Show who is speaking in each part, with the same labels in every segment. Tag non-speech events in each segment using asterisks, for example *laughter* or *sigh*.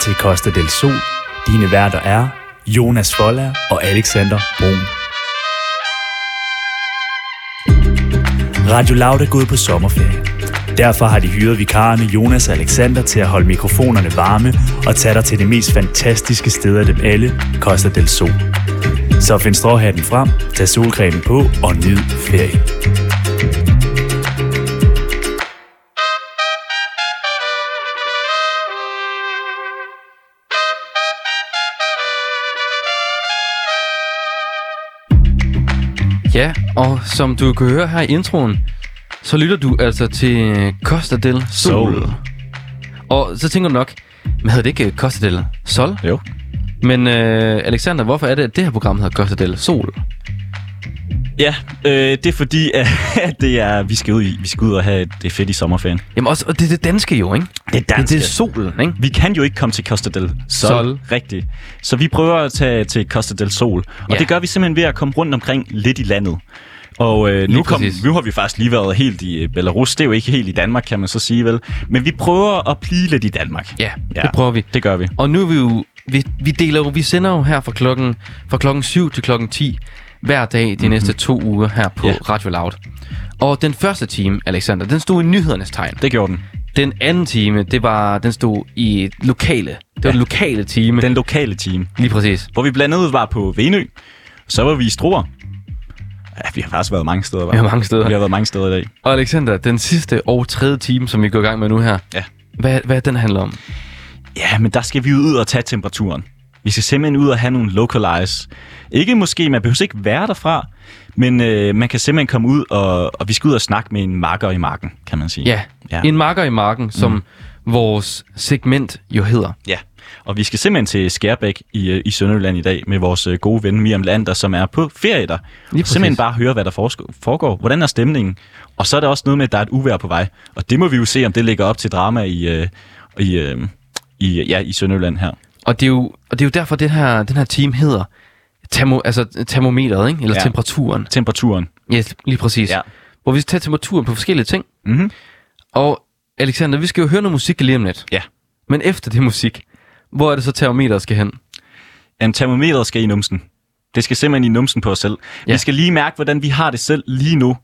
Speaker 1: til Costa del Sol. Dine værter er Jonas Folla og Alexander Brun. Radio Loud er gået på sommerferie. Derfor har de hyret vikarerne Jonas og Alexander til at holde mikrofonerne varme og tage dig til det mest fantastiske sted af dem alle, Costa del Sol. Så find stråhatten frem, tag solcremen på og nyd ferie.
Speaker 2: Ja, og som du kan høre her i introen, så lytter du altså til Costa del Sol. Sol. Og så tænker du nok, men hedder det ikke Costa del Sol?
Speaker 3: Jo.
Speaker 2: Men øh, Alexander, hvorfor er det, at det her program hedder Costa del Sol?
Speaker 3: Ja, øh, det er fordi, at *laughs* at det er, vi skal ud, i, vi skal ud og have det fedt i sommerferien.
Speaker 2: Jamen også, og det er det danske jo, ikke?
Speaker 3: Det er
Speaker 2: Det,
Speaker 3: danske.
Speaker 2: det er solen, ikke?
Speaker 3: Vi kan jo ikke komme til Costa del Sol.
Speaker 2: Sol.
Speaker 3: Rigtigt. Så vi prøver at tage til Costa del Sol. Og
Speaker 2: Ja.
Speaker 3: ja. det gør vi simpelthen ved at komme rundt omkring lidt i landet. Og øh, nu,
Speaker 2: Lige
Speaker 3: kom,
Speaker 2: præcis.
Speaker 3: nu har vi faktisk lige været helt i øh, Belarus. Det er jo ikke helt i Danmark, kan man så sige, vel? Men vi prøver at blive lidt i Danmark.
Speaker 2: Ja, ja, det prøver vi.
Speaker 3: Det gør vi.
Speaker 2: Og nu er vi jo, vi, vi deler jo, vi sender jo her fra klokken, fra klokken 7 til klokken 10 hver dag de mm-hmm. næste to uger her på
Speaker 3: Mhm. Ja.
Speaker 2: yeah. Radio Loud. Og den første time, Alexander, den stod i nyhedernes tegn.
Speaker 3: Det gjorde den.
Speaker 2: Den anden time, det var, den stod i lokale. Det var ja. lokale time. Den.
Speaker 3: Den lokale team.
Speaker 2: Lige præcis.
Speaker 3: Hvor vi blandt andet var på Venø. Så var vi i Struer. Ja, vi har faktisk været mange steder, hva'?
Speaker 2: Vi har mange steder.
Speaker 3: Vi har været mange steder i dag.
Speaker 2: Og Alexander, den sidste og tredje time, som vi går i gang med nu her.
Speaker 3: Ja.
Speaker 2: Hvad, hvad den handler om?
Speaker 3: Ja, men der skal vi ud og tage temperaturen. Vi skal simpelthen ud og have nogle localize. Ikke måske, man behøver ikke være derfra, men øh, man kan simpelthen komme ud, og, og vi skal ud og snakke med en marker i marken, kan man sige.
Speaker 2: Ja,
Speaker 3: Ja.
Speaker 2: ja. en marker i marken, som mm. vores segment jo hedder.
Speaker 3: ja. Og vi skal simpelthen til Skærbæk i, øh, i Sønderjylland i dag med vores øh, gode ven Miriam Lander, som er på ferie der.
Speaker 2: præcis.
Speaker 3: Simpelthen bare høre, hvad der foresko- foregår. Hvordan er stemningen? Og så er der også noget med, at der er et uvær på vej. Og det må vi jo se, om det ligger op til drama i, øh, i, øh, i, ja, i Sønderjylland her.
Speaker 2: Og det er jo, og det er jo derfor, den her, den her team hedder termo, altså termometeret, ikke? eller ja.
Speaker 3: Ja.
Speaker 2: temperaturen.
Speaker 3: Temperaturen.
Speaker 2: Ja, lige præcis.
Speaker 3: Ja.
Speaker 2: Hvor vi tager temperaturen på forskellige ting.
Speaker 3: Mhm.
Speaker 2: Og Alexander, vi skal jo høre noget musik lige om lidt.
Speaker 3: Ja.
Speaker 2: Men efter det musik, hvor er det så termometeret skal hen?
Speaker 3: Jamen, termometeret skal i numsen. Det skal simpelthen i numsen på os selv. Ja.
Speaker 2: Ja.
Speaker 3: Vi skal lige mærke, hvordan vi har det selv lige nu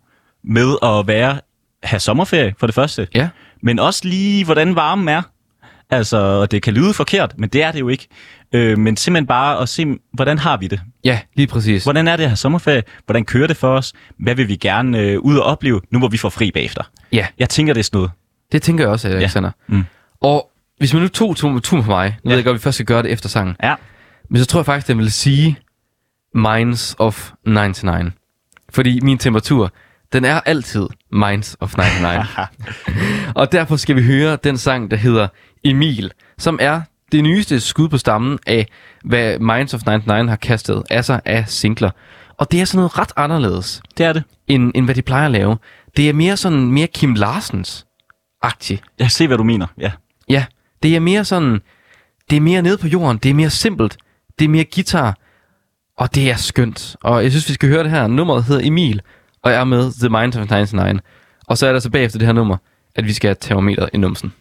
Speaker 3: med at være have sommerferie for det første.
Speaker 2: Ja.
Speaker 3: Men også lige, hvordan varmen er. Altså, og det kan lyde forkert, men det er det jo ikke. Øh, men simpelthen bare at se, hvordan har vi det?
Speaker 2: Ja, lige præcis.
Speaker 3: Hvordan er det at have sommerferie? Hvordan kører det for os? Hvad vil vi gerne øh, ud og opleve, nu hvor vi får fri bagefter?
Speaker 2: Ja,
Speaker 3: Jeg tænker, det er sådan noget.
Speaker 2: det tænker jeg også, Alexander.
Speaker 3: Mm.
Speaker 2: Og hvis man nu tog turen tur på mig, nu ja. ved jeg godt, at vi først skal gøre det efter sangen,
Speaker 3: Ja.
Speaker 2: men så tror jeg faktisk, den vil sige Minds of 99. Fordi min temperatur, den er altid Minds of 99.
Speaker 3: *laughs*
Speaker 2: og derfor skal vi høre den sang, der hedder Emil, som er det nyeste skud på stammen af, hvad Minds of 99 har kastet af sig af singler. Og det er sådan noget ret anderledes,
Speaker 3: Det er det.
Speaker 2: end, end hvad de plejer at lave. Det er mere sådan, mere Kim Larsens-agtigt.
Speaker 3: Jeg ser, hvad du mener. Ja.
Speaker 2: Ja, det er mere sådan, det er mere nede på jorden, det er mere simpelt, det er mere guitar, og det er skønt. Og jeg synes, vi skal høre det her. Nummeret hedder Emil, og jeg er med The Mind of 99. Og så er der så bagefter det her nummer, at vi skal have termometeret i numsen.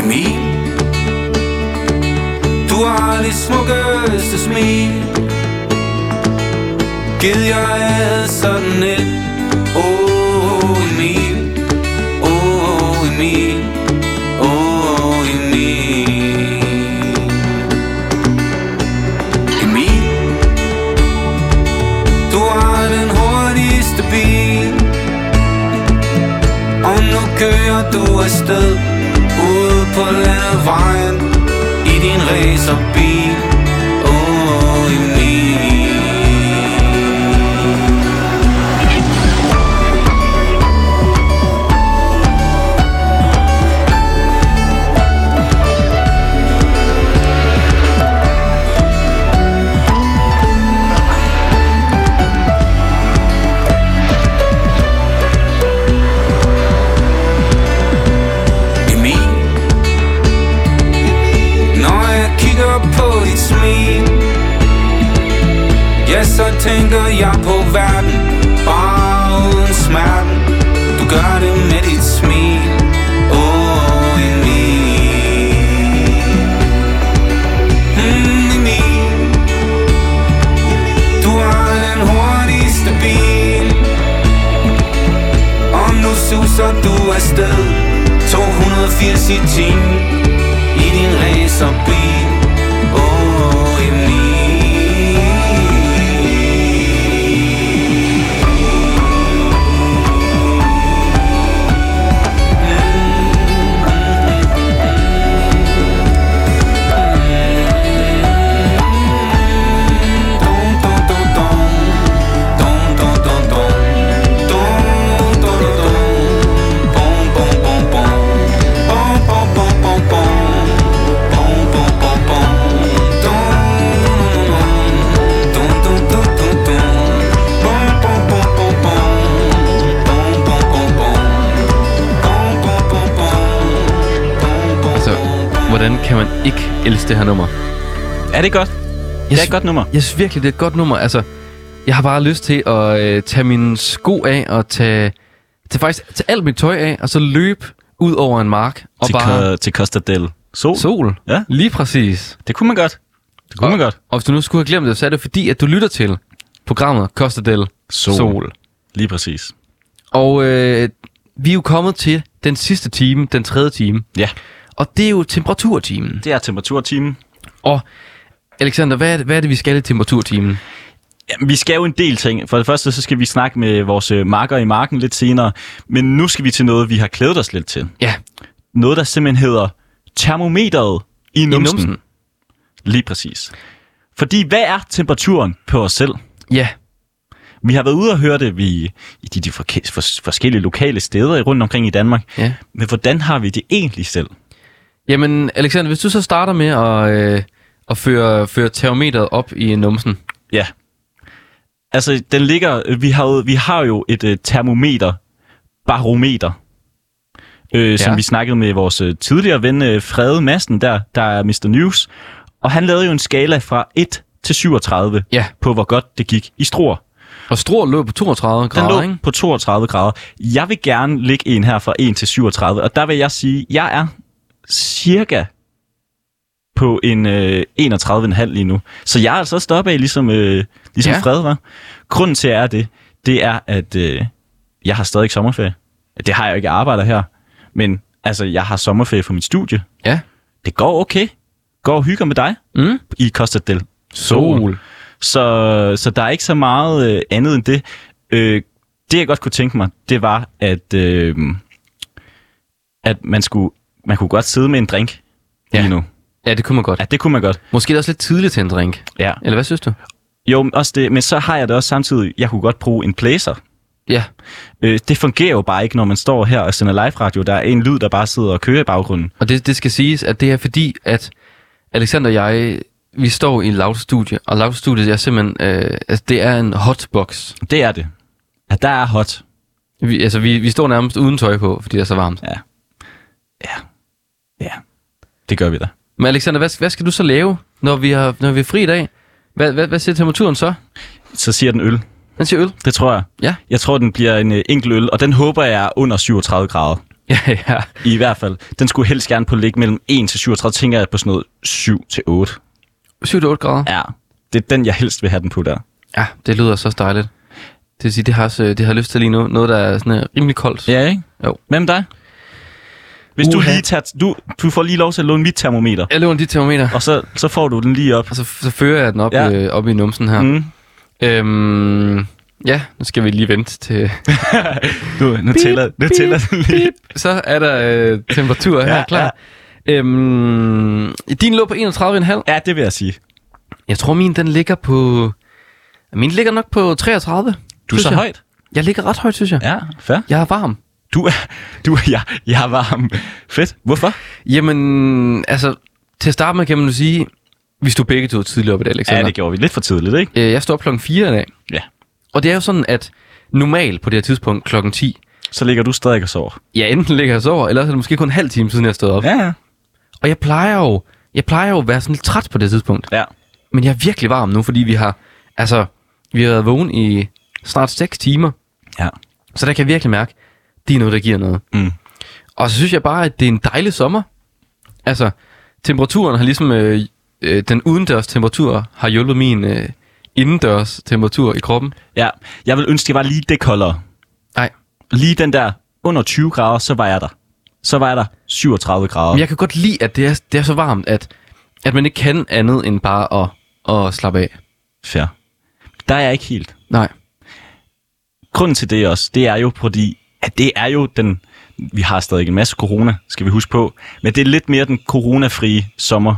Speaker 4: Emil Du har det smukkeste smil Gid jeg havde sådan et Åh, oh, Emil Åh, oh, Emil Åh, oh, Emil Emil Du har den hurtigste bil og nu kører du afsted Ude på landevejen I din racerbil Åh, oh, Emil Ja, så tænker jeg på verden Bare uden smerten Du gør det med dit smil Åh, Emil Mm, Emil Du har den hurtigste bil Og nu suser du afsted 280 i timen I din racerbil Åh, Emil
Speaker 2: Altså, hvordan kan man ikke elske det her nummer?
Speaker 3: Er det godt? Det er et godt nummer.
Speaker 2: Jeg synes virkelig, det er et godt nummer. Altså, jeg har bare lyst til at øh, tage mine sko af og tage, tage, faktisk, tage alt mit tøj af, og så løbe ud over en mark og
Speaker 3: til,
Speaker 2: bare
Speaker 3: Ko- til Costa del Sol.
Speaker 2: sol.
Speaker 3: Ja.
Speaker 2: Lige præcis.
Speaker 3: Det kunne man godt. Det kunne man godt.
Speaker 2: Og hvis du nu skulle have glemt det, så er det fordi, at du lytter til programmet Costa del Sol. Sol.
Speaker 3: Lige præcis.
Speaker 2: Og øh, vi er jo kommet til den sidste time, den tredje time.
Speaker 3: Ja,
Speaker 2: Og det er jo temperaturtimen.
Speaker 3: det er temperaturtimen.
Speaker 2: Og Alexander, hvad er det, hvad er det vi skal i temperaturtimen?
Speaker 3: Jamen, vi skal jo en del ting. For det første, så skal vi snakke med vores øh, marker i marken lidt senere. Men nu skal vi til noget, vi har klædet os lidt til.
Speaker 2: Ja,
Speaker 3: Noget, der simpelthen hedder termometeret i
Speaker 2: i
Speaker 3: numsen. I numsen.
Speaker 2: numsen.
Speaker 3: Lige præcis. Fordi hvad er temperaturen på os selv?
Speaker 2: Ja,
Speaker 3: Vi har været ude og høre det vi, i de, de forke- fors- forskellige lokale steder rundt omkring i Danmark.
Speaker 2: ja.
Speaker 3: Men hvordan har vi det egentlig selv?
Speaker 2: Jamen, Alexander, hvis du så starter med at, øh, at føre, føre termometret op i numsen.
Speaker 3: Ja. Altså, den ligger... Vi har jo, vi har jo et øh, termometer, barometer, øh, ja. som vi snakkede med vores øh, tidligere ven, øh, Frede Madsen, der, der er Mr. News. Og han lavede jo en skala fra 1 til 37
Speaker 2: Ja.
Speaker 3: på, hvor godt det gik i Struer.
Speaker 2: Og Struer lå på 32
Speaker 3: Den
Speaker 2: grader,
Speaker 3: lå
Speaker 2: ikke?
Speaker 3: på 32 grader. Jeg vil gerne ligge en her fra 1 til 37, og der vil jeg sige, at jeg er cirka på en øh, 31,5 lige nu. Så jeg er altså også deroppe af, ligesom, øh, ligesom
Speaker 2: Ja.
Speaker 3: ja. Fred var. Grunden til, at jeg er det, det er, at øh, jeg har stadig sommerferie. Det har jeg jo ikke jeg arbejder her, men altså, jeg har sommerferie fra mit studie.
Speaker 2: Ja.
Speaker 3: Det går okay. Går og hygger med dig
Speaker 2: Mm?
Speaker 3: i Costa del så, så der er ikke så meget øh, andet end det. Øh, det jeg godt kunne tænke mig, det var, at, øh, at man, skulle, man kunne godt sidde med en drink ja.
Speaker 2: Ja.
Speaker 3: lige nu.
Speaker 2: Ja, det kunne man godt.
Speaker 3: Ja, det kunne man godt.
Speaker 2: Måske er det også lidt tidligt til en drink.
Speaker 3: Ja.
Speaker 2: Eller hvad synes du?
Speaker 3: Jo, men også det, men så har jeg det også samtidig, jeg kunne godt bruge en blæser.
Speaker 2: Ja,
Speaker 3: Øh, det fungerer jo bare ikke, når man står her og sender live radio. Der er en lyd, der bare sidder og kører i baggrunden.
Speaker 2: og det, det skal siges, at det er fordi, at Alexander og jeg, vi står i Loud Studie, og Loud Studiet er simpelthen, øh, altså det er en hotbox.
Speaker 3: Det er det. Ja, der er hot.
Speaker 2: Vi, altså vi, vi står nærmest uden tøj på, fordi det er så varmt.
Speaker 3: Ja. Ja. Ja. Det gør vi da.
Speaker 2: Men Alexander, hvad, hvad skal du så lave, når vi, har, når vi er fri i dag? Hvad, hvad, hvad siger temperaturen så?
Speaker 3: Så siger den øl.
Speaker 2: Den siger øl.
Speaker 3: Det tror jeg.
Speaker 2: Ja.
Speaker 3: Jeg tror, den bliver en øh, enkelt øl, og den håber jeg er under 37 grader.
Speaker 2: *laughs* Ja, ja.
Speaker 3: I hvert fald. Den skulle helst gerne på ligge mellem 1 til 37, tænker jeg på sådan noget 7 til 8.
Speaker 2: 7-8 grader.
Speaker 3: Ja. Det er den, jeg helst vil have den på der.
Speaker 2: Ja, det lyder så dejligt. Det vil sige, det har, også, øh, det har jeg lyst til lige nu. Noget, der er sådan øh, rimelig koldt.
Speaker 3: Ja, ikke?
Speaker 2: Jo.
Speaker 3: Hvem dig? Hvis du
Speaker 2: Uha.
Speaker 3: lige tager... Du, du får lige lov til at låne mit termometer,
Speaker 2: Jeg løber dit termometer,
Speaker 3: og så, så får du den lige op.
Speaker 2: og så, så fører jeg den op,
Speaker 3: Ja.
Speaker 2: ja. øh, op i numsen her. Mm.
Speaker 3: Mm.
Speaker 2: Øhm, ja, nu skal vi lige vente til... *laughs*
Speaker 3: Nu, nu tæller, nu tæller den lige.
Speaker 2: Så er der øh, temperatur her,
Speaker 3: Ja,
Speaker 2: klar. Ja. Øhm, din lå på 31,5.
Speaker 3: Ja, det vil jeg sige.
Speaker 2: Jeg tror, min den ligger på... Min ligger nok på 33.
Speaker 3: Du er
Speaker 2: synes
Speaker 3: så
Speaker 2: jeg.
Speaker 3: højt.
Speaker 2: Jeg ligger ret højt, synes jeg. Ja.
Speaker 3: Ja, fair.
Speaker 2: Jeg er varm.
Speaker 3: Du er... Du er... Jeg, jeg er varm. Fedt. Hvorfor?
Speaker 2: Jamen, altså, til at starte med kan man jo sige, vi stod begge to tidligere op i dag, Alexander.
Speaker 3: Ja, det gjorde vi lidt for tidligt, ikke?
Speaker 2: Øh, Jeg står op klokken 4 i dag.
Speaker 3: Ja.
Speaker 2: Og det er jo sådan, at normalt på det her tidspunkt klokken 10,
Speaker 3: Så ligger du stadig og sover.
Speaker 2: ja, enten ligger jeg og sover, eller også er det måske kun en halv time siden, jeg stod op. Ja.
Speaker 3: Ja, ja.
Speaker 2: Og jeg plejer jo, jeg plejer jo at være sådan lidt træt på det tidspunkt.
Speaker 3: Ja.
Speaker 2: Men jeg er virkelig varm nu, fordi vi har, altså, Vi har været vågen i snart 6 timer,
Speaker 3: Ja.
Speaker 2: så der kan jeg virkelig mærke, det er noget, der giver noget.
Speaker 3: Mm.
Speaker 2: Og så synes jeg bare, at det er en dejlig sommer. Altså, temperaturen har ligesom... Øh, øh, den udendørs temperatur har hjulpet min øh, indendørs temperatur i kroppen.
Speaker 3: ja. Jeg vil ønske, det var lige det koldere.
Speaker 2: Nej,
Speaker 3: Lige den der under 20 grader, så var jeg der. Så var jeg der 37 grader.
Speaker 2: men jeg kan godt lide, at det er, det er så varmt, at, at man ikke kan andet end bare at, at slappe af.
Speaker 3: Fair. Der er jeg ikke helt.
Speaker 2: Nej.
Speaker 3: grunden til det også, det er jo fordi, at det er jo den, vi har stadig en masse corona, skal vi huske på, men det er lidt mere den coronafrie sommer,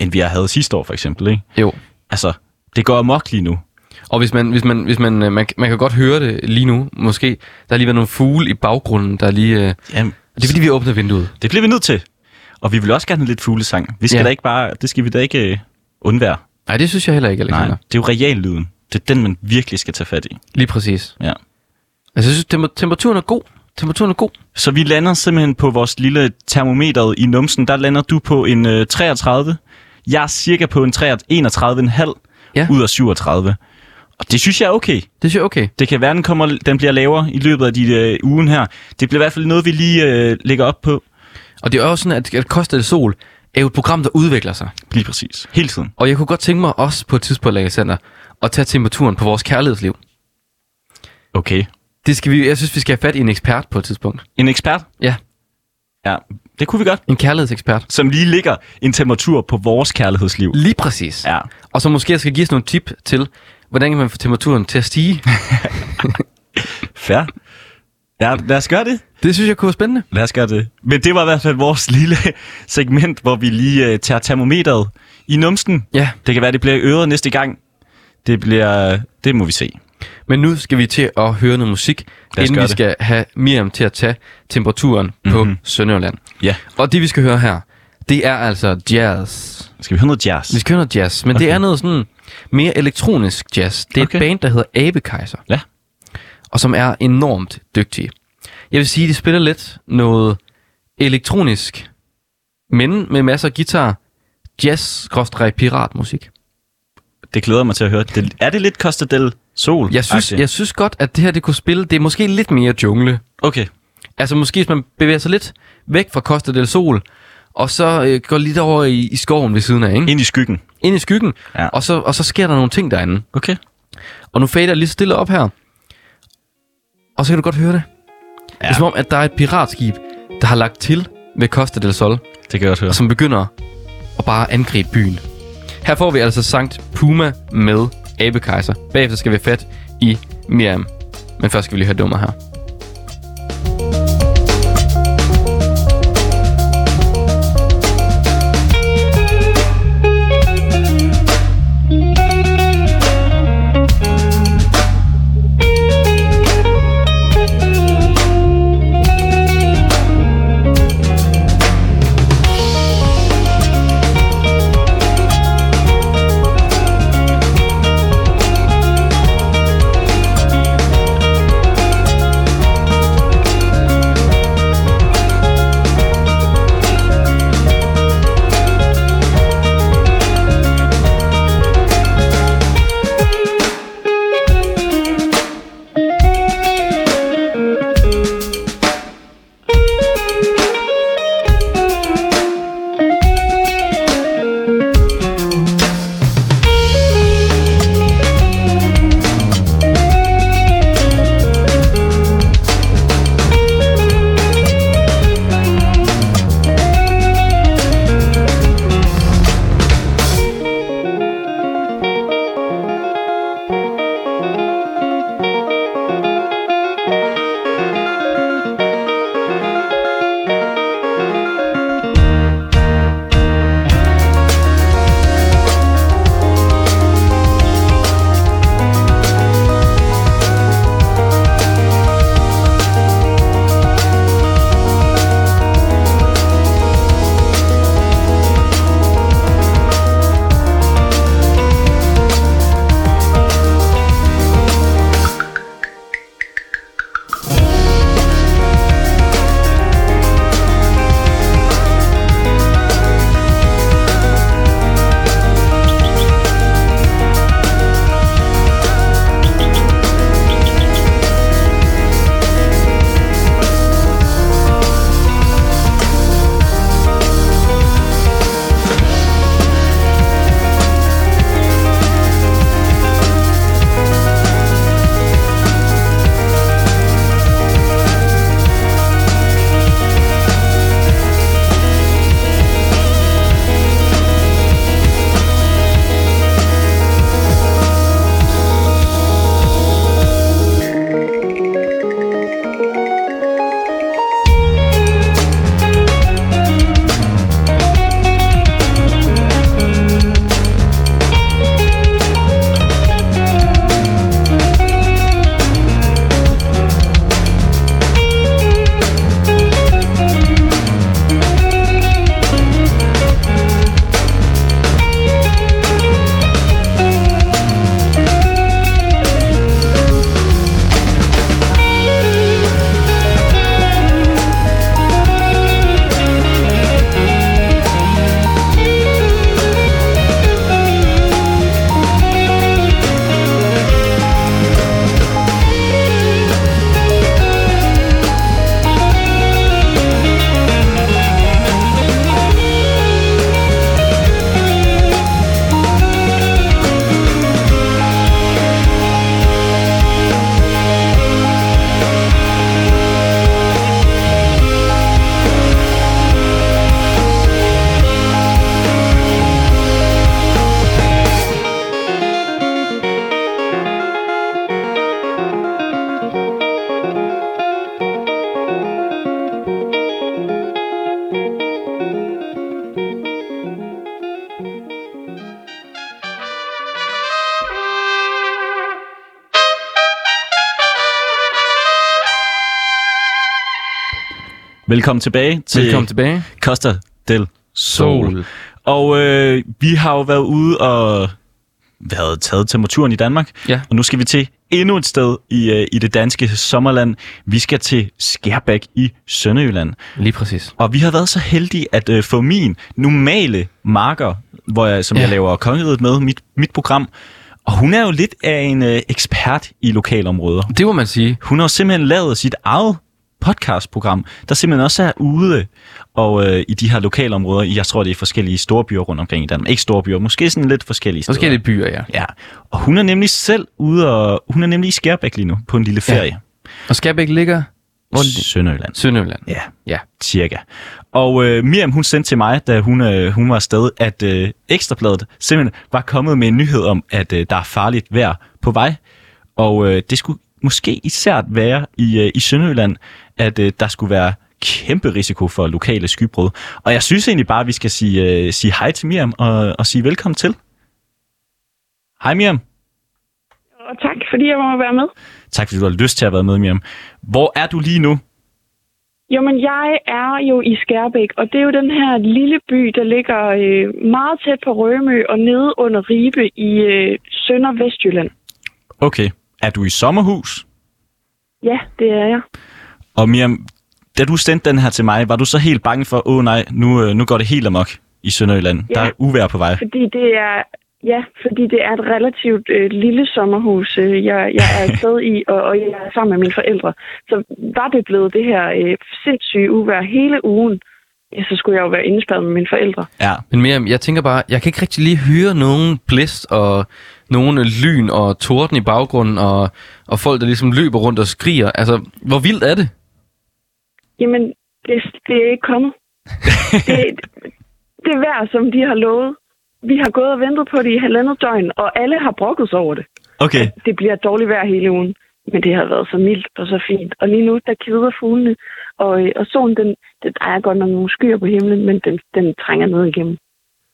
Speaker 3: end vi har havde sidste år for eksempel, ikke?
Speaker 2: Jo.
Speaker 3: Altså, det går amok lige nu.
Speaker 2: Og hvis man, hvis man, hvis man, øh, man, man kan godt høre det lige nu, måske. Der har lige været nogle fugle i baggrunden, der lige... Øh,
Speaker 3: Jamen,
Speaker 2: det er fordi, vi åbner vinduet.
Speaker 3: det bliver vi nødt til. Og vi vil også gerne have lidt fuglesang. Vi skal
Speaker 2: Ja.
Speaker 3: ja. da ikke bare, det skal vi da ikke øh, undvære.
Speaker 2: Nej, det synes jeg heller ikke,
Speaker 3: Nej,
Speaker 2: Alexander. Nej.
Speaker 3: det er jo reallyden. Det er den, man virkelig skal tage fat i.
Speaker 2: Lige præcis.
Speaker 3: Ja.
Speaker 2: Altså, jeg synes, temper- temperaturen er god. Temperaturen er god.
Speaker 3: Så vi lander simpelthen på vores lille termometer i numsen. Der lander du på en øh, 33. Jeg er cirka på en 31,5
Speaker 2: Ja.
Speaker 3: ja. ud af 37. Og det synes jeg er okay.
Speaker 2: Det synes jeg er okay.
Speaker 3: Det kan være, den, kommer, den bliver lavere i løbet af de øh, ugen her. Det bliver i hvert fald noget, vi lige øh, lægger op på.
Speaker 2: Og det er også sådan, at, at Costa del Sol er jo et program, der udvikler sig.
Speaker 3: Lige præcis. Hele tiden.
Speaker 2: Og jeg kunne godt tænke mig også på et tidspunkt, Alexander, at tage temperaturen på vores kærlighedsliv.
Speaker 3: Okay.
Speaker 2: Det skal vi, jeg synes, vi skal have fat i en ekspert på et tidspunkt.
Speaker 3: En ekspert?
Speaker 2: Ja,
Speaker 3: Ja, det kunne vi godt.
Speaker 2: en kærlighedsekspert.
Speaker 3: Som lige ligger en temperatur på vores kærlighedsliv.
Speaker 2: Lige præcis.
Speaker 3: Ja.
Speaker 2: Og så måske jeg skal give os nogle tip til, hvordan kan man få temperaturen til at
Speaker 3: *laughs*
Speaker 2: stige.
Speaker 3: Fair. Ja, lad os gøre det.
Speaker 2: det synes jeg kunne være spændende.
Speaker 3: Lad os gøre det. Men det var i hvert fald vores *laughs* lille segment, hvor vi lige øh, tager termometeret i numsten.
Speaker 2: Ja,
Speaker 3: Det kan være, det bliver i øret næste gang. Det bliver... Det må vi se.
Speaker 2: men nu skal vi til at høre noget musik,
Speaker 3: os
Speaker 2: inden vi
Speaker 3: gøre det. Mhm.
Speaker 2: skal have Miriam til at tage temperaturen på Sønderjylland.
Speaker 3: Ja.
Speaker 2: Og det vi skal høre her, det er altså jazz.
Speaker 3: Skal vi høre noget jazz?
Speaker 2: Vi skal høre noget jazz, men okay. det er noget sådan mere elektronisk jazz. Det er okay.
Speaker 3: Okay.
Speaker 2: et band, der hedder Abekaiser.
Speaker 3: Ja.
Speaker 2: Og som er enormt dygtige. Jeg vil sige, de spiller lidt noget elektronisk, men med masser af guitar, jazz, piratmusik.
Speaker 3: Det glæder jeg mig til at høre. Det, er det lidt Costa del Sol?
Speaker 2: Jeg synes, jeg synes godt, at det her det kunne spille, det er måske lidt mere jungle.
Speaker 3: Okay.
Speaker 2: Altså måske, hvis man bevæger sig lidt væk fra Costa del Sol, og så øh, går lidt over i, i skoven ved siden af, ikke?
Speaker 3: Ind i skyggen.
Speaker 2: Ind i skyggen,
Speaker 3: Ja.
Speaker 2: og, så, og så sker der nogle ting derinde.
Speaker 3: Okay.
Speaker 2: Og nu fader jeg lige stille op her. Og så kan du godt høre det. Ja. Det er som om, at der er et piratskib, der har lagt til ved Costa del Sol,
Speaker 3: Det kan jeg godt høre.
Speaker 2: som begynder at bare angribe byen. Her får vi altså Sankt Puma med Abekejser. Bagefter skal vi have fat i Miriam. Men først skal vi lige høre dummer her.
Speaker 3: Velkommen tilbage til
Speaker 2: Velkommen tilbage.
Speaker 3: Costa del Sol. Sol. Og øh, vi har jo været ude og været taget temperaturen i Danmark.
Speaker 2: Ja.
Speaker 3: Og nu skal vi til endnu et sted i, øh, i det danske sommerland. Vi skal til Skærbæk i Sønderjylland.
Speaker 2: Lige præcis.
Speaker 3: Og vi har været så heldige at øh, få min normale marker, hvor jeg, som ja.
Speaker 2: Ja.
Speaker 3: jeg laver kongeriget med, mit, mit program. Og hun er jo lidt af en øh, ekspert i lokalområder.
Speaker 2: Det må man sige.
Speaker 3: Hun har jo simpelthen lavet sit eget podcastprogram, der simpelthen også er ude og øh, i de her lokalområder. Jeg tror, det er forskellige storbyer rundt omkring i Danmark. Ikke storbyer, måske sådan lidt forskellige steder.
Speaker 2: Forskellige byer, ja.
Speaker 3: Ja, og hun er nemlig selv ude og... Hun er nemlig i Skærbæk lige nu, på en lille ferie.
Speaker 2: Og Skærbæk ligger... Hvor
Speaker 3: Ja.
Speaker 2: er det?
Speaker 3: Sønderjylland.
Speaker 2: Sønderjylland.
Speaker 3: Ja,
Speaker 2: Ja.
Speaker 3: cirka. Og øh, Miriam, hun sendte til mig, da hun, øh, hun var afsted, at øh, Ekstrabladet simpelthen var kommet med en nyhed om, at øh, der er farligt vejr på vej. Og øh, det skulle måske især være i, øh, i Sønderjylland, at øh, der skulle være kæmpe risiko for lokale skybrud. Og jeg synes egentlig bare, at vi skal sige, øh, sige hej til Miriam og, og sige velkommen til. Hej Miriam.
Speaker 5: Og tak, fordi jeg må være med.
Speaker 3: Tak fordi du har lyst til at være med, Miriam. Hvor er du lige nu?
Speaker 5: Jamen, jeg er jo i Skærbæk, og det er jo den her lille by, der ligger øh, meget tæt på Rømø og nede under Ribe i øh, Sønder Vestjylland.
Speaker 3: Okay. Er du i sommerhus?
Speaker 5: Ja, det er jeg.
Speaker 3: Og Miriam, da du sendte den her til mig, var du så helt bange for, åh oh, nej, nu, øh, nu går det helt amok i Sønderjylland.
Speaker 5: Ja.
Speaker 3: Der er uvær på vej.
Speaker 5: Fordi det er, ja, fordi det er et relativt øh, lille sommerhus, øh, jeg, jeg er afsted i, og, og jeg er sammen med mine forældre. Så var det blevet det her øh, sindssyge uvær hele ugen, ja, så skulle jeg jo være indespærret med mine forældre.
Speaker 3: Ja.
Speaker 2: Men mere, jeg tænker bare, jeg kan ikke rigtig lige høre nogen blæst og nogen lyn og torden i baggrunden og, og folk, der ligesom løber rundt og skriger. Altså, hvor vildt er det?
Speaker 5: Jamen, det, det er ikke
Speaker 3: *laughs*
Speaker 5: kommet. det, det er værd, som de har lovet. Vi har gået og ventet på det i halvandet døgn, og alle har brokket sig over det.
Speaker 3: Okay.
Speaker 5: Det bliver dårligt vejr hele ugen, men det har været så mildt og så fint. Og lige nu, der kvider fuglene, og, øh, og solen, den, den, der er godt nok nogle skyer på himlen, men den, den trænger ned igennem.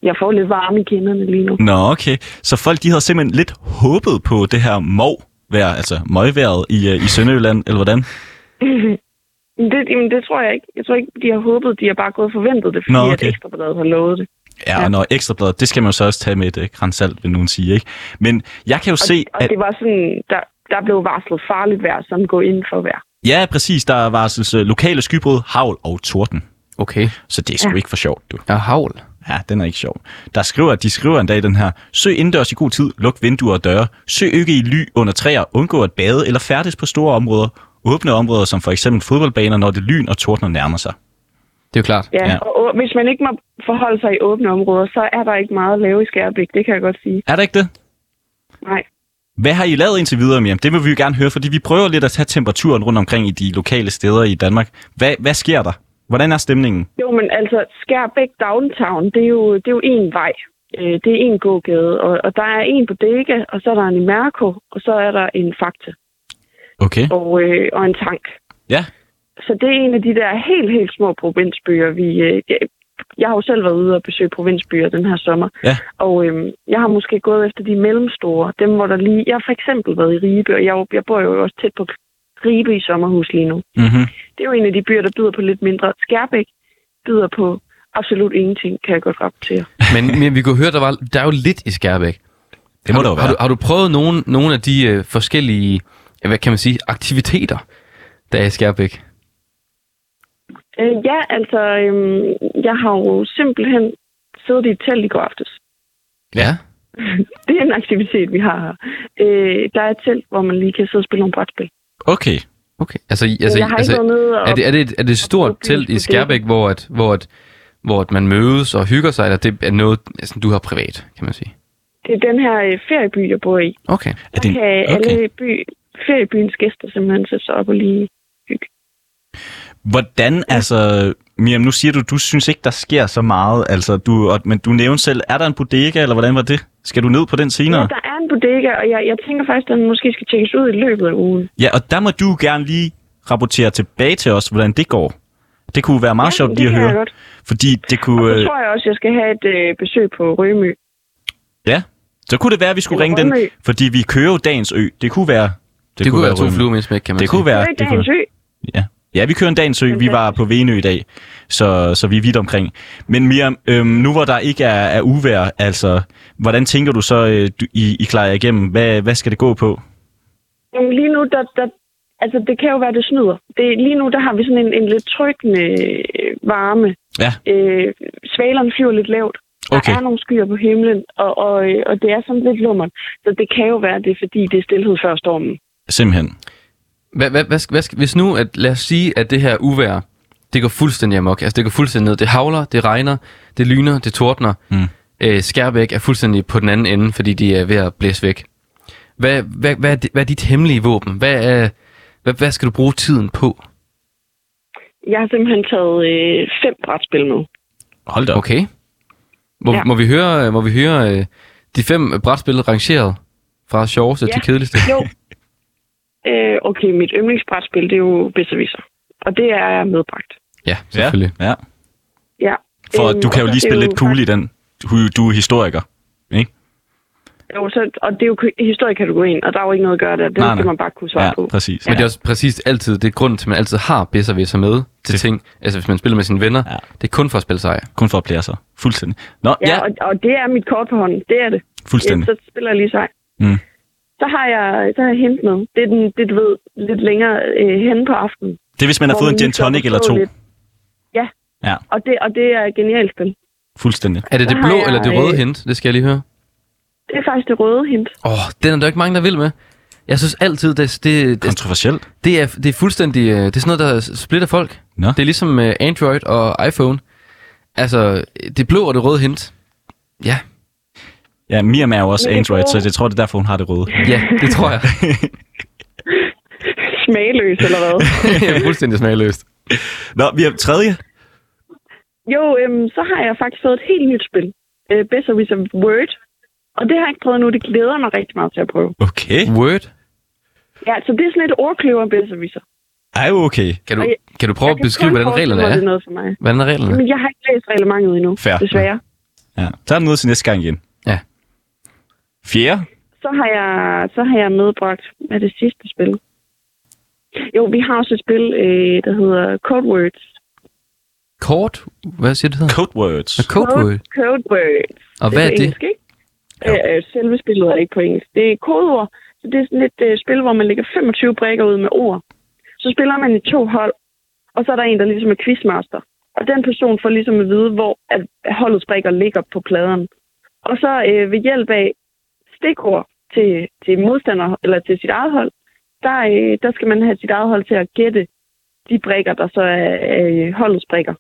Speaker 5: Jeg får lidt varme i kinderne lige nu.
Speaker 3: Nå, okay. Så folk, de havde simpelthen lidt håbet på det her mov vejr, altså møgværet i, øh, i Sønderjylland, eller hvordan?
Speaker 5: Men det, jamen, det tror jeg ikke. Jeg tror ikke, de har håbet, de har bare gået og forventet det, fordi
Speaker 3: Nå,
Speaker 5: Nå, okay.
Speaker 3: okay.
Speaker 5: at Ekstrabladet har lovet det.
Speaker 3: Ja,
Speaker 5: Ja.
Speaker 3: og når ekstrabladet, det skal man jo så også tage med et øh, grænsalt, vil nogen sige, ikke? Men jeg kan jo
Speaker 5: Og,
Speaker 3: se,
Speaker 5: og
Speaker 3: at
Speaker 5: det var sådan, der, der blev varslet farligt vejr, sådan gå ind for vejr.
Speaker 3: ja, præcis, der varsles øh, lokale skybrud, havl og torden.
Speaker 2: Okay.
Speaker 3: Så det er sgu ja. ikke for sjovt, du.
Speaker 2: Jeg er havl.
Speaker 3: Ja, den er ikke sjov. Der skriver, de skriver en dag den her, søg indendørs i god tid, luk vinduer og døre, søg ikke i ly under træer, undgå at bade eller færdes på store områder, åbne områder som for eksempel fodboldbaner, når det lyn og tordner nærmer sig.
Speaker 2: Det er jo klart.
Speaker 5: Ja,
Speaker 3: Ja.
Speaker 5: ja. og å- hvis man ikke må forholde sig i åbne områder, så er der ikke meget at lave i Skærbæk, det kan jeg godt sige.
Speaker 3: Er der ikke det?
Speaker 5: Nej.
Speaker 3: Hvad har I lavet indtil videre, Miriam? Det vil vi jo gerne høre, fordi vi prøver lidt at tage temperaturen rundt omkring i de lokale steder i Danmark. Hvad, hvad sker der? Hvordan er stemningen?
Speaker 5: Jo, men altså, Skærbæk Downtown, det er jo, det er jo én vej. Øh, Det er én gågade, og, og der er en bodega, og så er der en Imerco, og så er der en Fakta
Speaker 3: Okay.
Speaker 5: og, øh, og en tank.
Speaker 3: Ja.
Speaker 5: Så det er en af de der helt, helt små provinsbyer, vi... Øh, jeg- jeg har jo selv været ude og besøge provinsbyer den her sommer,
Speaker 3: Ja.
Speaker 5: og øhm, jeg har måske gået efter de mellemstore, dem hvor der lige... Jeg har for eksempel været i Ribe, og jeg, er jo- jeg bor jo også tæt på Ribe i sommerhus lige nu.
Speaker 3: Mm-hmm.
Speaker 5: Det er jo en af de byer, der byder på lidt mindre. Skærbæk byder på absolut ingenting, kan jeg godt rapportere.
Speaker 2: Men, men vi kunne høre, der, var, der er jo lidt i Skærbæk.
Speaker 3: Det må
Speaker 2: har,
Speaker 3: der jo
Speaker 2: du- Har
Speaker 3: være.
Speaker 2: du, har du prøvet nogle, nogle af de øh, forskellige, ja, hvad kan man sige, aktiviteter, der er i Skærbæk?
Speaker 5: Øh, ja, altså, øhm, jeg har jo simpelthen siddet i et telt i går aftes.
Speaker 2: Ja.
Speaker 5: Det er en aktivitet, vi har her. Øh, der er et telt, hvor man lige kan sidde og spille nogle brætspil.
Speaker 3: Okay.
Speaker 2: Okay. Altså, i-
Speaker 5: Altså,
Speaker 2: altså,
Speaker 5: jeg har
Speaker 2: altså,
Speaker 5: ikke været nede og...
Speaker 2: er, det, er, det et, er det et stort
Speaker 5: bruge
Speaker 2: telt i
Speaker 5: byens
Speaker 2: Skærbæk, hvor, at, hvor, at, hvor at man mødes og hygger sig, eller det er noget, altså, du har privat, kan man sige?
Speaker 5: det er den her øh, ferieby, jeg bor i.
Speaker 2: Okay.
Speaker 3: Er
Speaker 5: Der
Speaker 3: det en-
Speaker 5: kan okay. alle by, feriebyens gæster simpelthen sætte sig op og lige...
Speaker 3: Hvordan, altså... Miriam, nu siger du, du synes ikke, der sker så meget, altså, du, og, men du nævnte selv, er der en bodega, eller hvordan var det? Skal du ned på den senere?
Speaker 5: Ja, der er en bodega, og jeg, jeg tænker faktisk, at den måske skal tjekkes ud i løbet af ugen.
Speaker 3: Ja, og der må du gerne lige rapportere tilbage til os, hvordan det går. Det kunne være meget ja,
Speaker 5: Ja,
Speaker 3: sjovt
Speaker 5: det
Speaker 3: lige at
Speaker 5: kan jeg
Speaker 3: høre.
Speaker 5: godt.
Speaker 3: Fordi det
Speaker 5: Og
Speaker 3: kunne...
Speaker 5: så
Speaker 3: Øh,
Speaker 5: tror jeg også, at jeg skal have et øh, besøg på Rømø.
Speaker 3: ja, så kunne det være, at vi skulle
Speaker 5: Eller
Speaker 3: ringe den,
Speaker 5: Rømø.
Speaker 3: fordi vi kører jo dagens ø. Det kunne være...
Speaker 2: Det, det kunne være to
Speaker 3: Rømø.
Speaker 2: fluer med en smæk, kan man
Speaker 3: Det
Speaker 2: sige.
Speaker 3: kunne være...
Speaker 5: Ja, det er
Speaker 3: kunne,
Speaker 5: dagens ø.
Speaker 3: ja, Ja, vi kører en dagens ø. Vi var på Venø i dag, så, så vi er vidt omkring. Men Miriam, øhm, nu hvor der ikke er, er uvær, altså, hvordan tænker du så, øh, du- I, I klarer jer igennem? Hvad, hvad skal det gå på?
Speaker 5: Jamen, lige nu, der, der, altså, det kan jo være, det snyder. Det, lige nu, der har vi sådan en, en lidt trykkende øh, varme.
Speaker 3: Ja.
Speaker 5: Øh, svalerne flyver lidt lavt.
Speaker 3: Okay.
Speaker 5: Der er nogle skyer på himlen, og, og, øh, og det er sådan lidt lummert. Så det kan jo være, det er fordi, det er stillhed før stormen.
Speaker 3: Simpelthen.
Speaker 2: Hvad, hvad, hvad, skal- hvad, skal- hvis nu, at, lad os sige, at det her uvær, det går fuldstændig amok. Altså, det går fuldstændig ned. Det havler, det regner, det lyner, det tordner.
Speaker 3: Mm.
Speaker 2: Øh, Skærbæk er fuldstændig på den anden ende, fordi de er ved at blæse væk. Hvad, hvad, hvad, er, dit, hvad er dit hemmelige våben? Hvad, er, hvad, hvad skal du bruge tiden på?
Speaker 5: Jeg har simpelthen taget øh, fem brætspil
Speaker 3: *laughs*
Speaker 5: med.
Speaker 3: Hold da op.
Speaker 2: Okay. Må, ja.
Speaker 5: Ja.
Speaker 2: må vi høre, må vi høre øh, de fem brætspil rangeret fra sjoveste ja.
Speaker 5: Ja.
Speaker 2: til
Speaker 5: *laughs*
Speaker 2: kedeligste?
Speaker 5: Jo. øh, okay, mit yndlingsbrætspil, det er jo Besserwisser. Og det er medbragt.
Speaker 2: Ja, selvfølgelig.
Speaker 3: Ja, ja.
Speaker 5: Ja.
Speaker 3: For
Speaker 5: Øhm,
Speaker 3: du kan jo
Speaker 5: og
Speaker 3: lige
Speaker 5: så er
Speaker 3: spille
Speaker 5: det
Speaker 3: lidt cool i den. Du, du er historiker.
Speaker 5: Jo, så, og det er jo kø- historiekategorien, og der er jo ikke noget at gøre der. Det
Speaker 3: Nej, nej.
Speaker 5: skal man bare kunne svare
Speaker 3: Ja,
Speaker 5: på.
Speaker 3: præcis.
Speaker 2: Men det er også præcis altid, det er grunden til, at man altid har bedser ved sig med til
Speaker 3: Det-
Speaker 2: ting. Altså hvis man spiller med sine venner,
Speaker 3: Ja.
Speaker 2: ja. det er kun for at spille sejr.
Speaker 3: Kun for at plære sig. Fuldstændig. Nå,
Speaker 5: Ja,
Speaker 3: ja,
Speaker 5: og, og det er mit kort på hånden. Det er det.
Speaker 3: fuldstændig.
Speaker 5: Så spiller jeg lige sej.
Speaker 3: Mm.
Speaker 5: Så har jeg, så har jeg hentet noget. Det er, den, det, er, du ved, lidt længere øh, hen på aftenen.
Speaker 3: Det er, hvis man har
Speaker 5: hvor
Speaker 3: fået en
Speaker 5: man lige
Speaker 3: gin
Speaker 5: slår
Speaker 3: tonic
Speaker 5: på
Speaker 3: eller to.
Speaker 5: tålet lidt. Ja.
Speaker 3: Ja.
Speaker 5: Og det, og det er et genialt spil.
Speaker 3: Fuldstændig.
Speaker 2: Er det
Speaker 5: Så
Speaker 2: det
Speaker 5: har
Speaker 2: blå
Speaker 5: jeg,
Speaker 2: eller det røde
Speaker 5: øh,
Speaker 2: hint? Det skal jeg lige høre.
Speaker 5: Det er faktisk det røde hint.
Speaker 2: Åh, oh, den er der ikke mange, der vil med. Jeg synes altid, det, det, det,
Speaker 3: Kontroversielt.
Speaker 2: det, er, det er fuldstændig... øh, Det er sådan noget, der splitter folk.
Speaker 3: Nå.
Speaker 2: Det er ligesom øh, Android og iPhone. Altså, det blå og det røde hint. Ja,
Speaker 3: Ja, Miriam er jo også
Speaker 5: Men det
Speaker 3: Android, så
Speaker 5: gode-
Speaker 3: jeg tror, det er derfor, hun har det røde.
Speaker 2: ja, det tror jeg.
Speaker 5: Smagløs, eller
Speaker 3: *laughs*
Speaker 5: hvad?
Speaker 2: det er fuldstændig smagløst.
Speaker 3: Nå, vi er tredje.
Speaker 5: jo, øhm, så har jeg faktisk fået et helt nyt spil. Øh, Better with a Word. Og det har jeg ikke prøvet nu. Det glæder mig rigtig meget til at prøve.
Speaker 3: Okay.
Speaker 2: Word.
Speaker 5: Ja, så det er sådan et ordkløver besserwisser.
Speaker 3: Ej, okay.
Speaker 2: Kan du,
Speaker 5: Og jeg-
Speaker 2: kan du prøve at beskrive, hvordan reglerne
Speaker 5: Det
Speaker 2: er?
Speaker 5: noget for mig.
Speaker 2: Hvordan er reglerne?
Speaker 5: Men jeg har ikke læst reglementet endnu,
Speaker 3: Fair.
Speaker 5: desværre.
Speaker 3: Ja. Så er der noget til næste gang igen.
Speaker 2: Ja.
Speaker 3: Fjerde?
Speaker 5: Så har jeg, så har jeg medbragt, hvad er det sidste spil? Jo, vi har også et spil, øh, der hedder Code Words.
Speaker 2: Kort? Hvad siger det hedder?
Speaker 3: Code words.
Speaker 2: A Code word.
Speaker 5: Code Words.
Speaker 2: Og hvad
Speaker 5: på
Speaker 2: er det?
Speaker 5: Engelsk, ikke? Øh, øh, selve spillet er ikke på engelsk. Det er kodeord. Så det er sådan et øh, spil, hvor man lægger 25 brækker ud med ord. Så spiller man i to hold, og så er der en, der ligesom er quizmaster. Og den person får ligesom at vide, hvor at at holdets brækker ligger på pladeren. Og så øh, ved hjælp af stikord til, til modstander eller til sit eget hold, der, øh, der skal man have sit eget hold til at gætte de brækker, der så er øh, holdets brækker.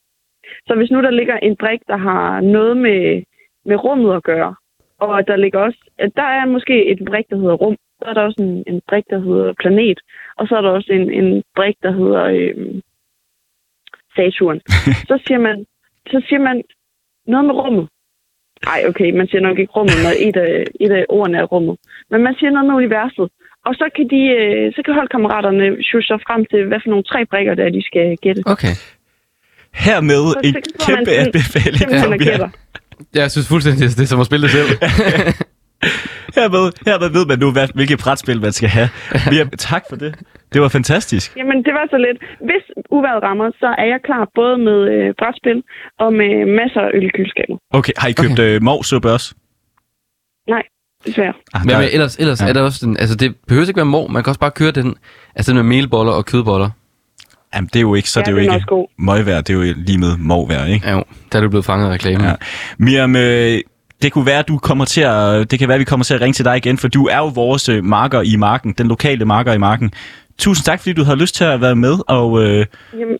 Speaker 5: Så hvis nu der ligger en brik, der har noget med, med rummet at gøre, og der ligger også, at der er måske en brik, der hedder rum, så er der også en, en brik, der hedder planet, og så er der også en, en brik, der hedder øh, Saturn. Så siger man, så siger man noget med rummet. Nej, okay, man siger nok ikke rummet, når et af, et af ordene er rummet. Men man siger noget med universet. Og så kan, de, øh, så kan holdkammeraterne sjuse sig frem til, hvad for nogle tre brikker, der er, de skal gætte.
Speaker 2: Okay.
Speaker 3: Hermed
Speaker 5: Så-
Speaker 3: en
Speaker 5: så kan man
Speaker 3: kæmpe
Speaker 5: sådan-
Speaker 3: anbefaling
Speaker 5: Simpelthen
Speaker 3: fra
Speaker 5: og
Speaker 3: Miriam.
Speaker 5: gætter.
Speaker 2: Jeg synes fuldstændig, det er som at spille det *laughs* selv.
Speaker 3: Hermed, hermed ved man nu, hvad, hvilket brætspil man skal have. Miriam, tak for det. Det var fantastisk.
Speaker 5: Jamen, det var så lidt. Hvis uværet rammer, så er jeg klar både med øh, brætspil og med masser af øl i køleskabet.
Speaker 3: Okay, har I købt okay. øh, morsuppe også?
Speaker 5: Nej, desværre.
Speaker 3: Ah,
Speaker 2: Hvad
Speaker 3: der-
Speaker 2: med, ellers, ellers
Speaker 3: Ja.
Speaker 2: ja. er der også den, altså det behøver ikke være mor, man kan også bare køre den, altså den med melboller og kødboller.
Speaker 3: Jamen, det er jo ikke, så
Speaker 5: Ja,
Speaker 3: det er jo
Speaker 5: den er
Speaker 3: ikke
Speaker 5: også god.
Speaker 3: møgvær, det er jo lige med morvær, ikke?
Speaker 2: Ja, jo, der er du blevet fanget af reklamen.
Speaker 3: Ja.
Speaker 2: Ja.
Speaker 3: Miriam, øh, det kunne være, du kommer til at, det kan være, vi kommer til at ringe til dig igen, for du er jo vores øh, marker i marken, den lokale marker i marken. Tusind tak, fordi du havde lyst til at være med, og øh,
Speaker 5: Jamen,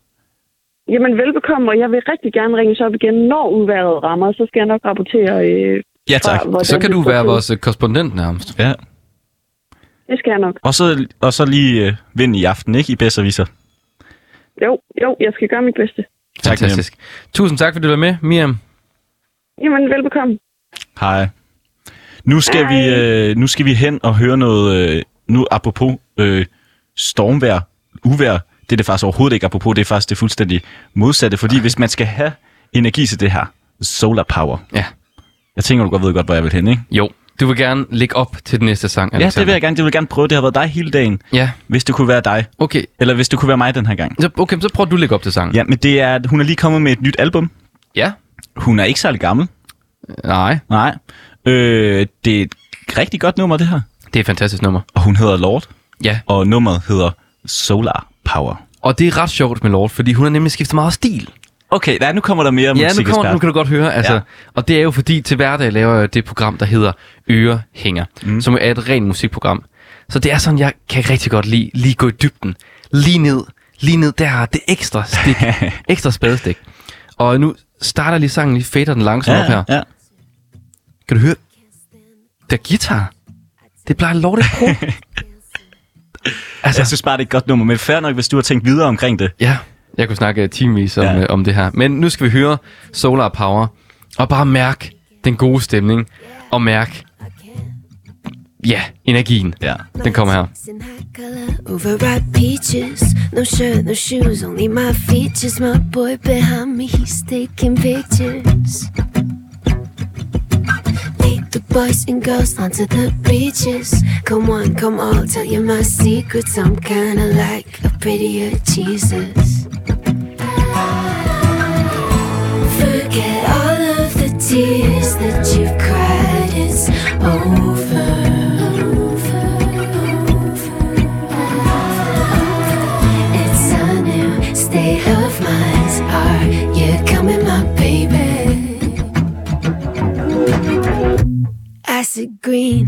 Speaker 5: jamen, velbekomme, og jeg vil rigtig gerne ringes op igen, når uværet rammer. Så skal jeg nok rapportere. Øh,
Speaker 3: ja tak.
Speaker 5: Fra, hvordan
Speaker 2: Så kan
Speaker 5: det
Speaker 2: du
Speaker 5: står
Speaker 2: være
Speaker 5: til.
Speaker 2: vores øh, korrespondent nærmest.
Speaker 3: Ja.
Speaker 5: Det skal jeg nok.
Speaker 3: Og, så, og så lige øh, vind i aften, ikke? I bedste viser.
Speaker 5: Jo, jo, jeg skal gøre mit bedste.
Speaker 3: Tak,
Speaker 2: Fantastisk. Tusind tak, fordi du var med, Miriam.
Speaker 5: Jamen, velbekomme.
Speaker 3: Hej. Nu skal,
Speaker 5: Hej.
Speaker 3: Vi, øh, nu skal vi hen og høre noget, øh, nu apropos øh, stormvær, uvær. Det er det faktisk overhovedet ikke apropos, det er faktisk det fuldstændig modsatte, fordi hvis man skal have energi til det her, solar power.
Speaker 2: Ja.
Speaker 3: Jeg tænker, du godt ved godt, hvor jeg vil hen, ikke?
Speaker 2: Jo, Du vil gerne lægge op til den næste sang,
Speaker 3: Ja, det vil jeg gerne. Det vil jeg gerne prøve. Det har været dig hele dagen,
Speaker 2: Ja,
Speaker 3: hvis det kunne være dig.
Speaker 2: okay.
Speaker 3: Eller hvis det kunne være mig den her gang.
Speaker 2: Så, okay, så prøver du at lægge op til sangen.
Speaker 3: Ja, men det er, at hun er lige kommet med et nyt album.
Speaker 2: ja.
Speaker 3: Hun er ikke særlig gammel.
Speaker 2: Nej,
Speaker 3: Nej. Øh, det er et rigtig godt nummer, det her.
Speaker 2: det er et fantastisk nummer.
Speaker 3: Og hun hedder Lord.
Speaker 2: Ja,
Speaker 3: Og nummeret hedder Solar Power.
Speaker 2: og det er ret sjovt med Lord, fordi hun har nemlig skiftet meget stil.
Speaker 3: Okay, nej, nu kommer der mere
Speaker 2: Ja, nu, kommer, nu
Speaker 3: musikekspert.
Speaker 2: kan du godt høre, altså. Ja.
Speaker 3: Ja.
Speaker 2: Og det er jo fordi, til hverdag laver jeg det program, der hedder Ørehænger, mm. som er et rent musikprogram. Så det er sådan, jeg kan rigtig godt lide, lige gå i dybden. Lige ned, lige ned der, det ekstra *laughs* stik, ekstra spadestik. Og nu starter lige sangen, lige fader den langsomt ja, op her.
Speaker 3: ja, ja.
Speaker 2: Kan du høre? Der er guitar. Det plejer lort at *laughs* bruge.
Speaker 3: Altså, jeg synes bare, det er et godt nummer, men fair nok, hvis du har tænkt videre omkring det.
Speaker 2: Ja, jeg kunne snakke timevis om, ja.
Speaker 3: Ja.
Speaker 2: øh, om det her. Men nu skal vi høre Solar Power, og bare mærke den gode stemning, og mærke, ja, energien.
Speaker 3: Ja.
Speaker 2: Den kommer her.
Speaker 6: In high color, Overripe peaches, no shirt, no shoes, only my features. My boy behind me, he's taking pictures. Lead the boys and girls onto the beaches. Come on, come all, tell you my secrets. I'm kinda like a prettier Jesus. Forget all of the tears that you've cried. It's over. over, over. It's a new state of mind. Are you coming, my baby? Acid green,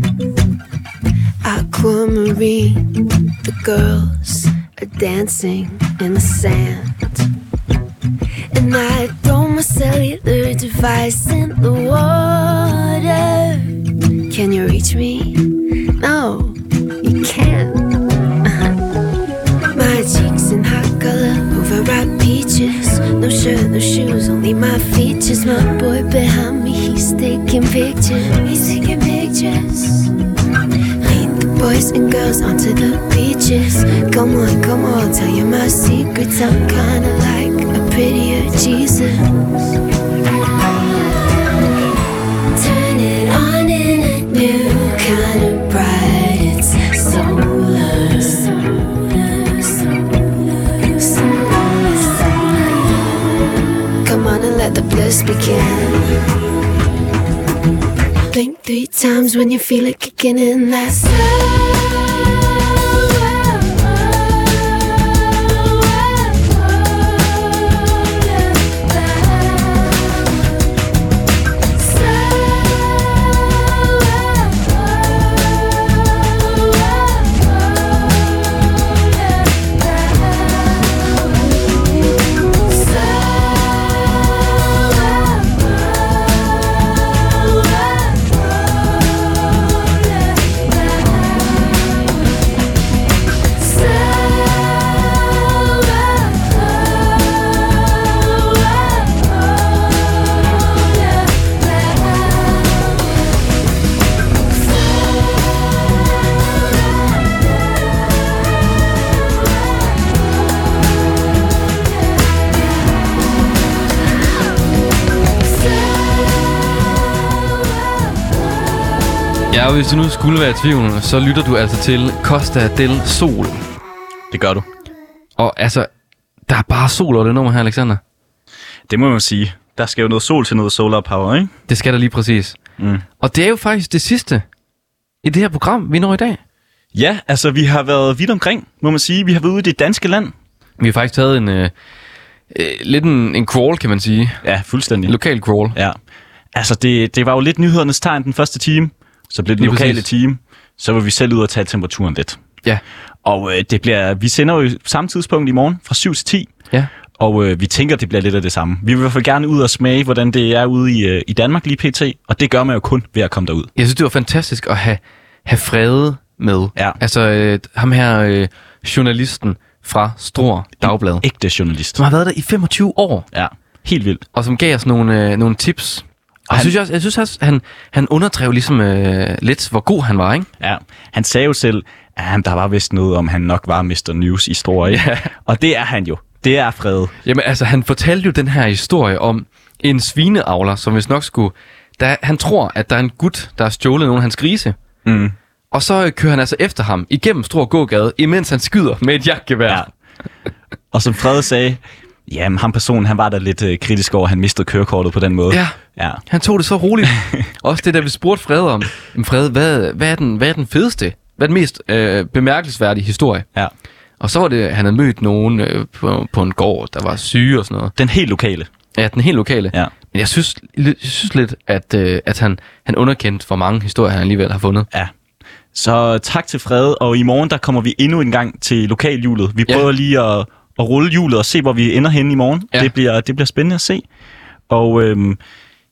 Speaker 6: aquamarine. The girls are dancing in the sand. And I throw my cellular device in the water. Can you reach me? No, you can't. *laughs* My cheeks in hot color, overripe peaches. No shirt, no shoes, only my features. My boy behind me, he's taking pictures. He's taking pictures. Lead the boys and girls onto the beaches. Come on, come on, tell you my secrets. I'm kinda like a prettier Jesus. Turn it on in a new kind of bright. It's solar. solar, solar, solar. Come on and let the bliss begin. Blink three times when you feel it kicking in. That's
Speaker 2: Ja, og hvis du nu skulle være i tvivl, så lytter du altså til Costa del Sol.
Speaker 3: Det gør du.
Speaker 2: Og altså, der er bare sol over det nummer her, Alexander.
Speaker 3: Det må man sige. Der skal jo noget sol til noget solar power, ikke?
Speaker 2: Det skal der lige præcis.
Speaker 3: Mm.
Speaker 2: Og det er jo faktisk det sidste i det her program, vi når i dag.
Speaker 3: Ja, altså vi har været vidt omkring, må man sige. Vi har været ude i det danske land.
Speaker 2: Vi har faktisk taget en... Øh, øh, lidt en, en crawl, kan man sige.
Speaker 3: Ja,
Speaker 2: En
Speaker 3: fuldstændig.
Speaker 2: lokal crawl.
Speaker 3: ja. Altså det, det var jo lidt nyhedernes tegn den første time. Så blev det
Speaker 2: Lige
Speaker 3: lokale
Speaker 2: præcis.
Speaker 3: time. Så var vi selv ude og tage temperaturen lidt.
Speaker 2: Ja.
Speaker 3: Og øh, det bliver, vi sender jo samme tidspunkt i morgen fra 7 til 10.
Speaker 2: Ja.
Speaker 3: Og øh, vi tænker, det bliver lidt af det samme. Vi vil i hvert fald gerne ud og smage, hvordan det er ude i, øh, i Danmark lige pt. Og det gør man jo kun ved at komme derud.
Speaker 2: Jeg synes, det var fantastisk at have, have Frede med.
Speaker 3: Ja.
Speaker 2: Altså øh, ham her, øh, journalisten fra Stor Dagblad,
Speaker 3: Ægte journalist.
Speaker 2: som har været der i 25 år,
Speaker 3: Ja, helt vildt.
Speaker 2: og som gav os nogle, øh, nogle tips. Og jeg
Speaker 3: han-
Speaker 2: synes, også, jeg synes også, han, han underdrev ligesom øh, lidt, hvor god han var, ikke?
Speaker 3: Ja. Han sagde jo selv, at han- der var vist noget om, han nok var Mr. News i store ja. Og det er han jo. Det er Fred.
Speaker 2: Jamen altså, han fortalte jo den her historie om en svineavler, som hvis nok skulle... Der, han tror, at der er en gut, der har stjålet nogle af hans grise.
Speaker 3: Mm.
Speaker 2: Og så øh, kører han altså efter ham igennem Stor Gågade, imens han skyder med et jagtgevær.
Speaker 3: Ja. Og som Frede sagde, jamen ham personen, han var da lidt øh, kritisk over, at han mistede kørekortet på den måde.
Speaker 2: Ja.
Speaker 3: ja.
Speaker 2: Han tog det så
Speaker 3: *laughs*
Speaker 2: roligt. Også det, der vi spurgte Fred om. "Men Fred, hvad, hvad, er den, hvad er den fedeste? Hvad er den mest øh, bemærkelsesværdige historie?
Speaker 3: ja.
Speaker 2: Og så var det, at han havde mødt nogen øh, på, på en gård, der var syge og sådan noget.
Speaker 3: Den helt lokale.
Speaker 2: Ja, den helt lokale.
Speaker 3: Ja.
Speaker 2: Men jeg synes, jeg synes lidt, at, øh, at han, han underkendte, hvor mange historier han alligevel har fundet.
Speaker 3: Ja. Så tak til Frede, og i morgen der kommer vi endnu en gang til lokalhjulet. Vi
Speaker 2: Ja.
Speaker 3: prøver lige at, at rulle hjulet og se, hvor vi ender henne i morgen.
Speaker 2: Ja.
Speaker 3: Det, bliver, det bliver spændende at se. Og øhm,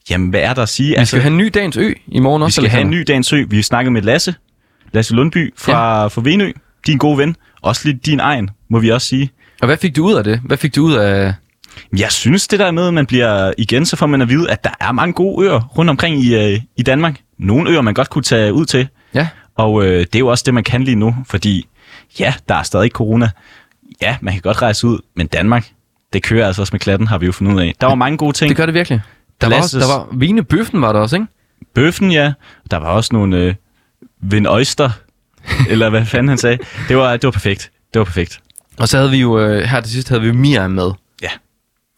Speaker 3: jamen, hvad er der at sige? Altså,
Speaker 2: Vi skal have en ny dagens ø i morgen
Speaker 3: vi
Speaker 2: også.
Speaker 3: skal have en
Speaker 2: Alexander.
Speaker 3: ny dagens ø. Vi snakkede med Lasse, Lasse Lundby fra, ja. fra Venø, din gode ven. Også lidt din egen, må vi også sige.
Speaker 2: Og hvad fik du ud af det? Hvad fik du ud af...
Speaker 3: Jeg synes, det der med, at man bliver igen, så får man at vide, at der er mange gode øer rundt omkring i, øh, i Danmark. Nogle øer, man godt kunne tage ud til.
Speaker 2: Ja,
Speaker 3: Og øh, det er jo også det, man kan lige nu, fordi ja, der er stadig corona. Ja, man kan godt rejse ud, men Danmark, det kører altså også med klatten, har vi jo fundet ud af. Der var mange gode ting.
Speaker 2: det gør det virkelig. Der var, også,
Speaker 3: Lasses-
Speaker 2: der var vinebøffen var der også, ikke?
Speaker 3: Bøffen, ja. Der var også nogle øh, Vin Oyster, *laughs* eller hvad fanden han sagde. Det var, det var perfekt. Det var perfekt.
Speaker 2: Og så havde vi jo, øh, her til sidst havde vi jo Mia med.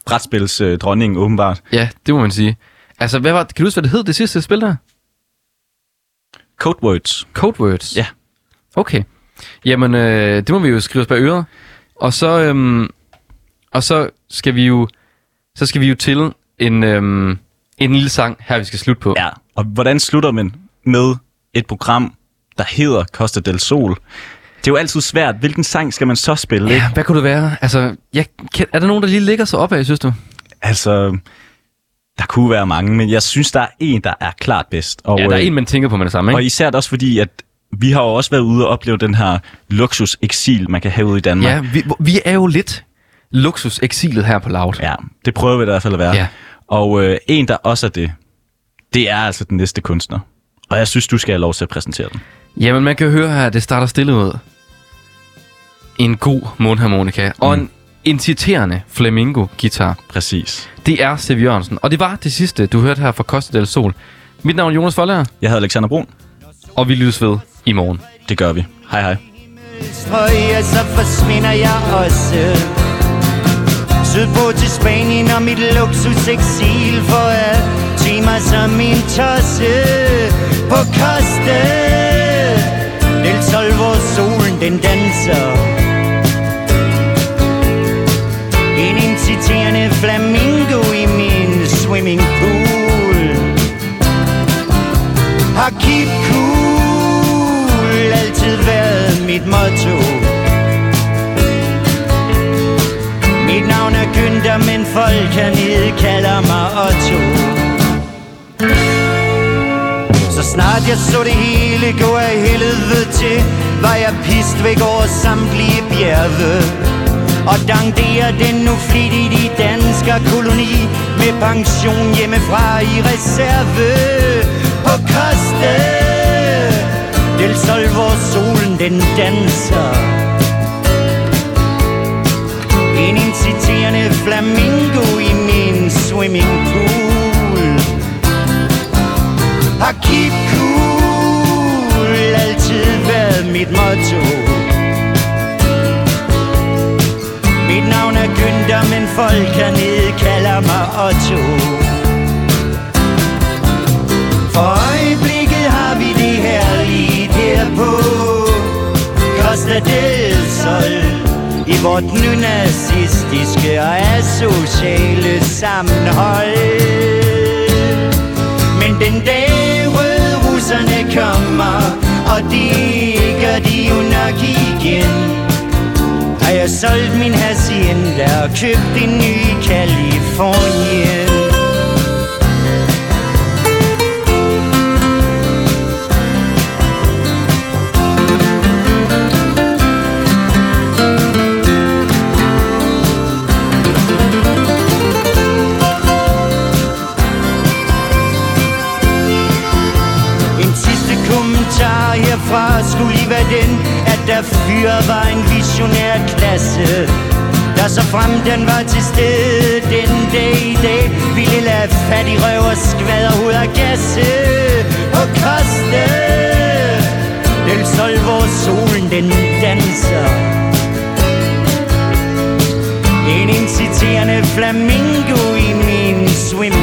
Speaker 3: Brætspils øh, dronningen, åbenbart.
Speaker 2: Ja, det må man sige. Altså, hvad var, kan du huske, hvad det hed, det sidste spil der?
Speaker 3: Code words.
Speaker 2: Code Words?
Speaker 3: Ja.
Speaker 2: Okay. Jamen, øh, det må vi jo skrive os bag øret. Og så, øhm, og så skal vi jo, så skal vi jo til en, øhm, en lille sang her, vi skal slutte på.
Speaker 3: Ja. Og hvordan slutter man med et program, der hedder Costa del Sol? Det er jo altid svært. Hvilken sang skal man så spille? ikke?
Speaker 2: Ja, hvad kunne det være? Altså, jeg, kan, er der nogen, der lige ligger sig op af, synes du?
Speaker 3: Altså, der kunne være mange, men jeg synes, der er en, der er klart bedst. Og,
Speaker 2: ja, der er
Speaker 3: øh,
Speaker 2: en, man tænker på med det samme,
Speaker 3: og
Speaker 2: ikke?
Speaker 3: især også fordi, at vi har jo også været ude og opleve den her luksus-eksil, man kan have ude i Danmark.
Speaker 2: Ja, vi, vi er jo lidt luksuseksilet her på Loud.
Speaker 3: ja det prøver vi da i hvert fald at være.
Speaker 2: Ja.
Speaker 3: Og øh, en, der også er det, det er altså den næste kunstner. Og jeg synes, du skal have lov til at præsentere den.
Speaker 2: Jamen, man kan høre her, at det starter stille ud. En god mundharmonika og en inciterende flamingo-guitar.
Speaker 3: Præcis.
Speaker 2: Det er Steve Jørgensen. Og det var det sidste, du hørte her fra Costa del Sol. Mit navn er Jonas Folger,
Speaker 3: Jeg hedder Alexander Brun.
Speaker 2: og vi lyttes ved i morgen.
Speaker 3: Det gør vi. Hej hej.
Speaker 7: Strøg, og så forsvinder jeg også Sydpå til Spanien og mit luksuseksil For at timer som en tosse På koste Del sol, hvor solen den danser En inciterende flamingo i min swimming pool har keep cool altid været mit motto. Mit navn er Günther, men folk hernede kalder mig Otto. Så snart jeg så det hele gå af helvede til, var jeg pist væk over samtlige bjerge. Og dangderer den nu flittigt i dansker koloni Med pension hjemmefra i reserve På koste Del sol, hvor solen den danser En inciterende flamingo i min swimming pool Har keep cool altid været mit motto Mit navn er Günther, men folk hernede kalder mig Otto For øjeblikket har vi det her lige her på Costa del Sol I vort nynazistiske og asociale sammenhold men den dag røde russerne kommer, og det gør de jo nok igen. Har jeg solgt min hacienda og købt en ny i Kalifornien. En sidste kommentar herfra skulle lige være den, at der fyre var en visionær klasse. Der så frem den var til stede den dag i dag Ville lade fat i røv og skvader ud af kasse Og koste Del sol, hvor solen den danser En inciterende flamingo i min swim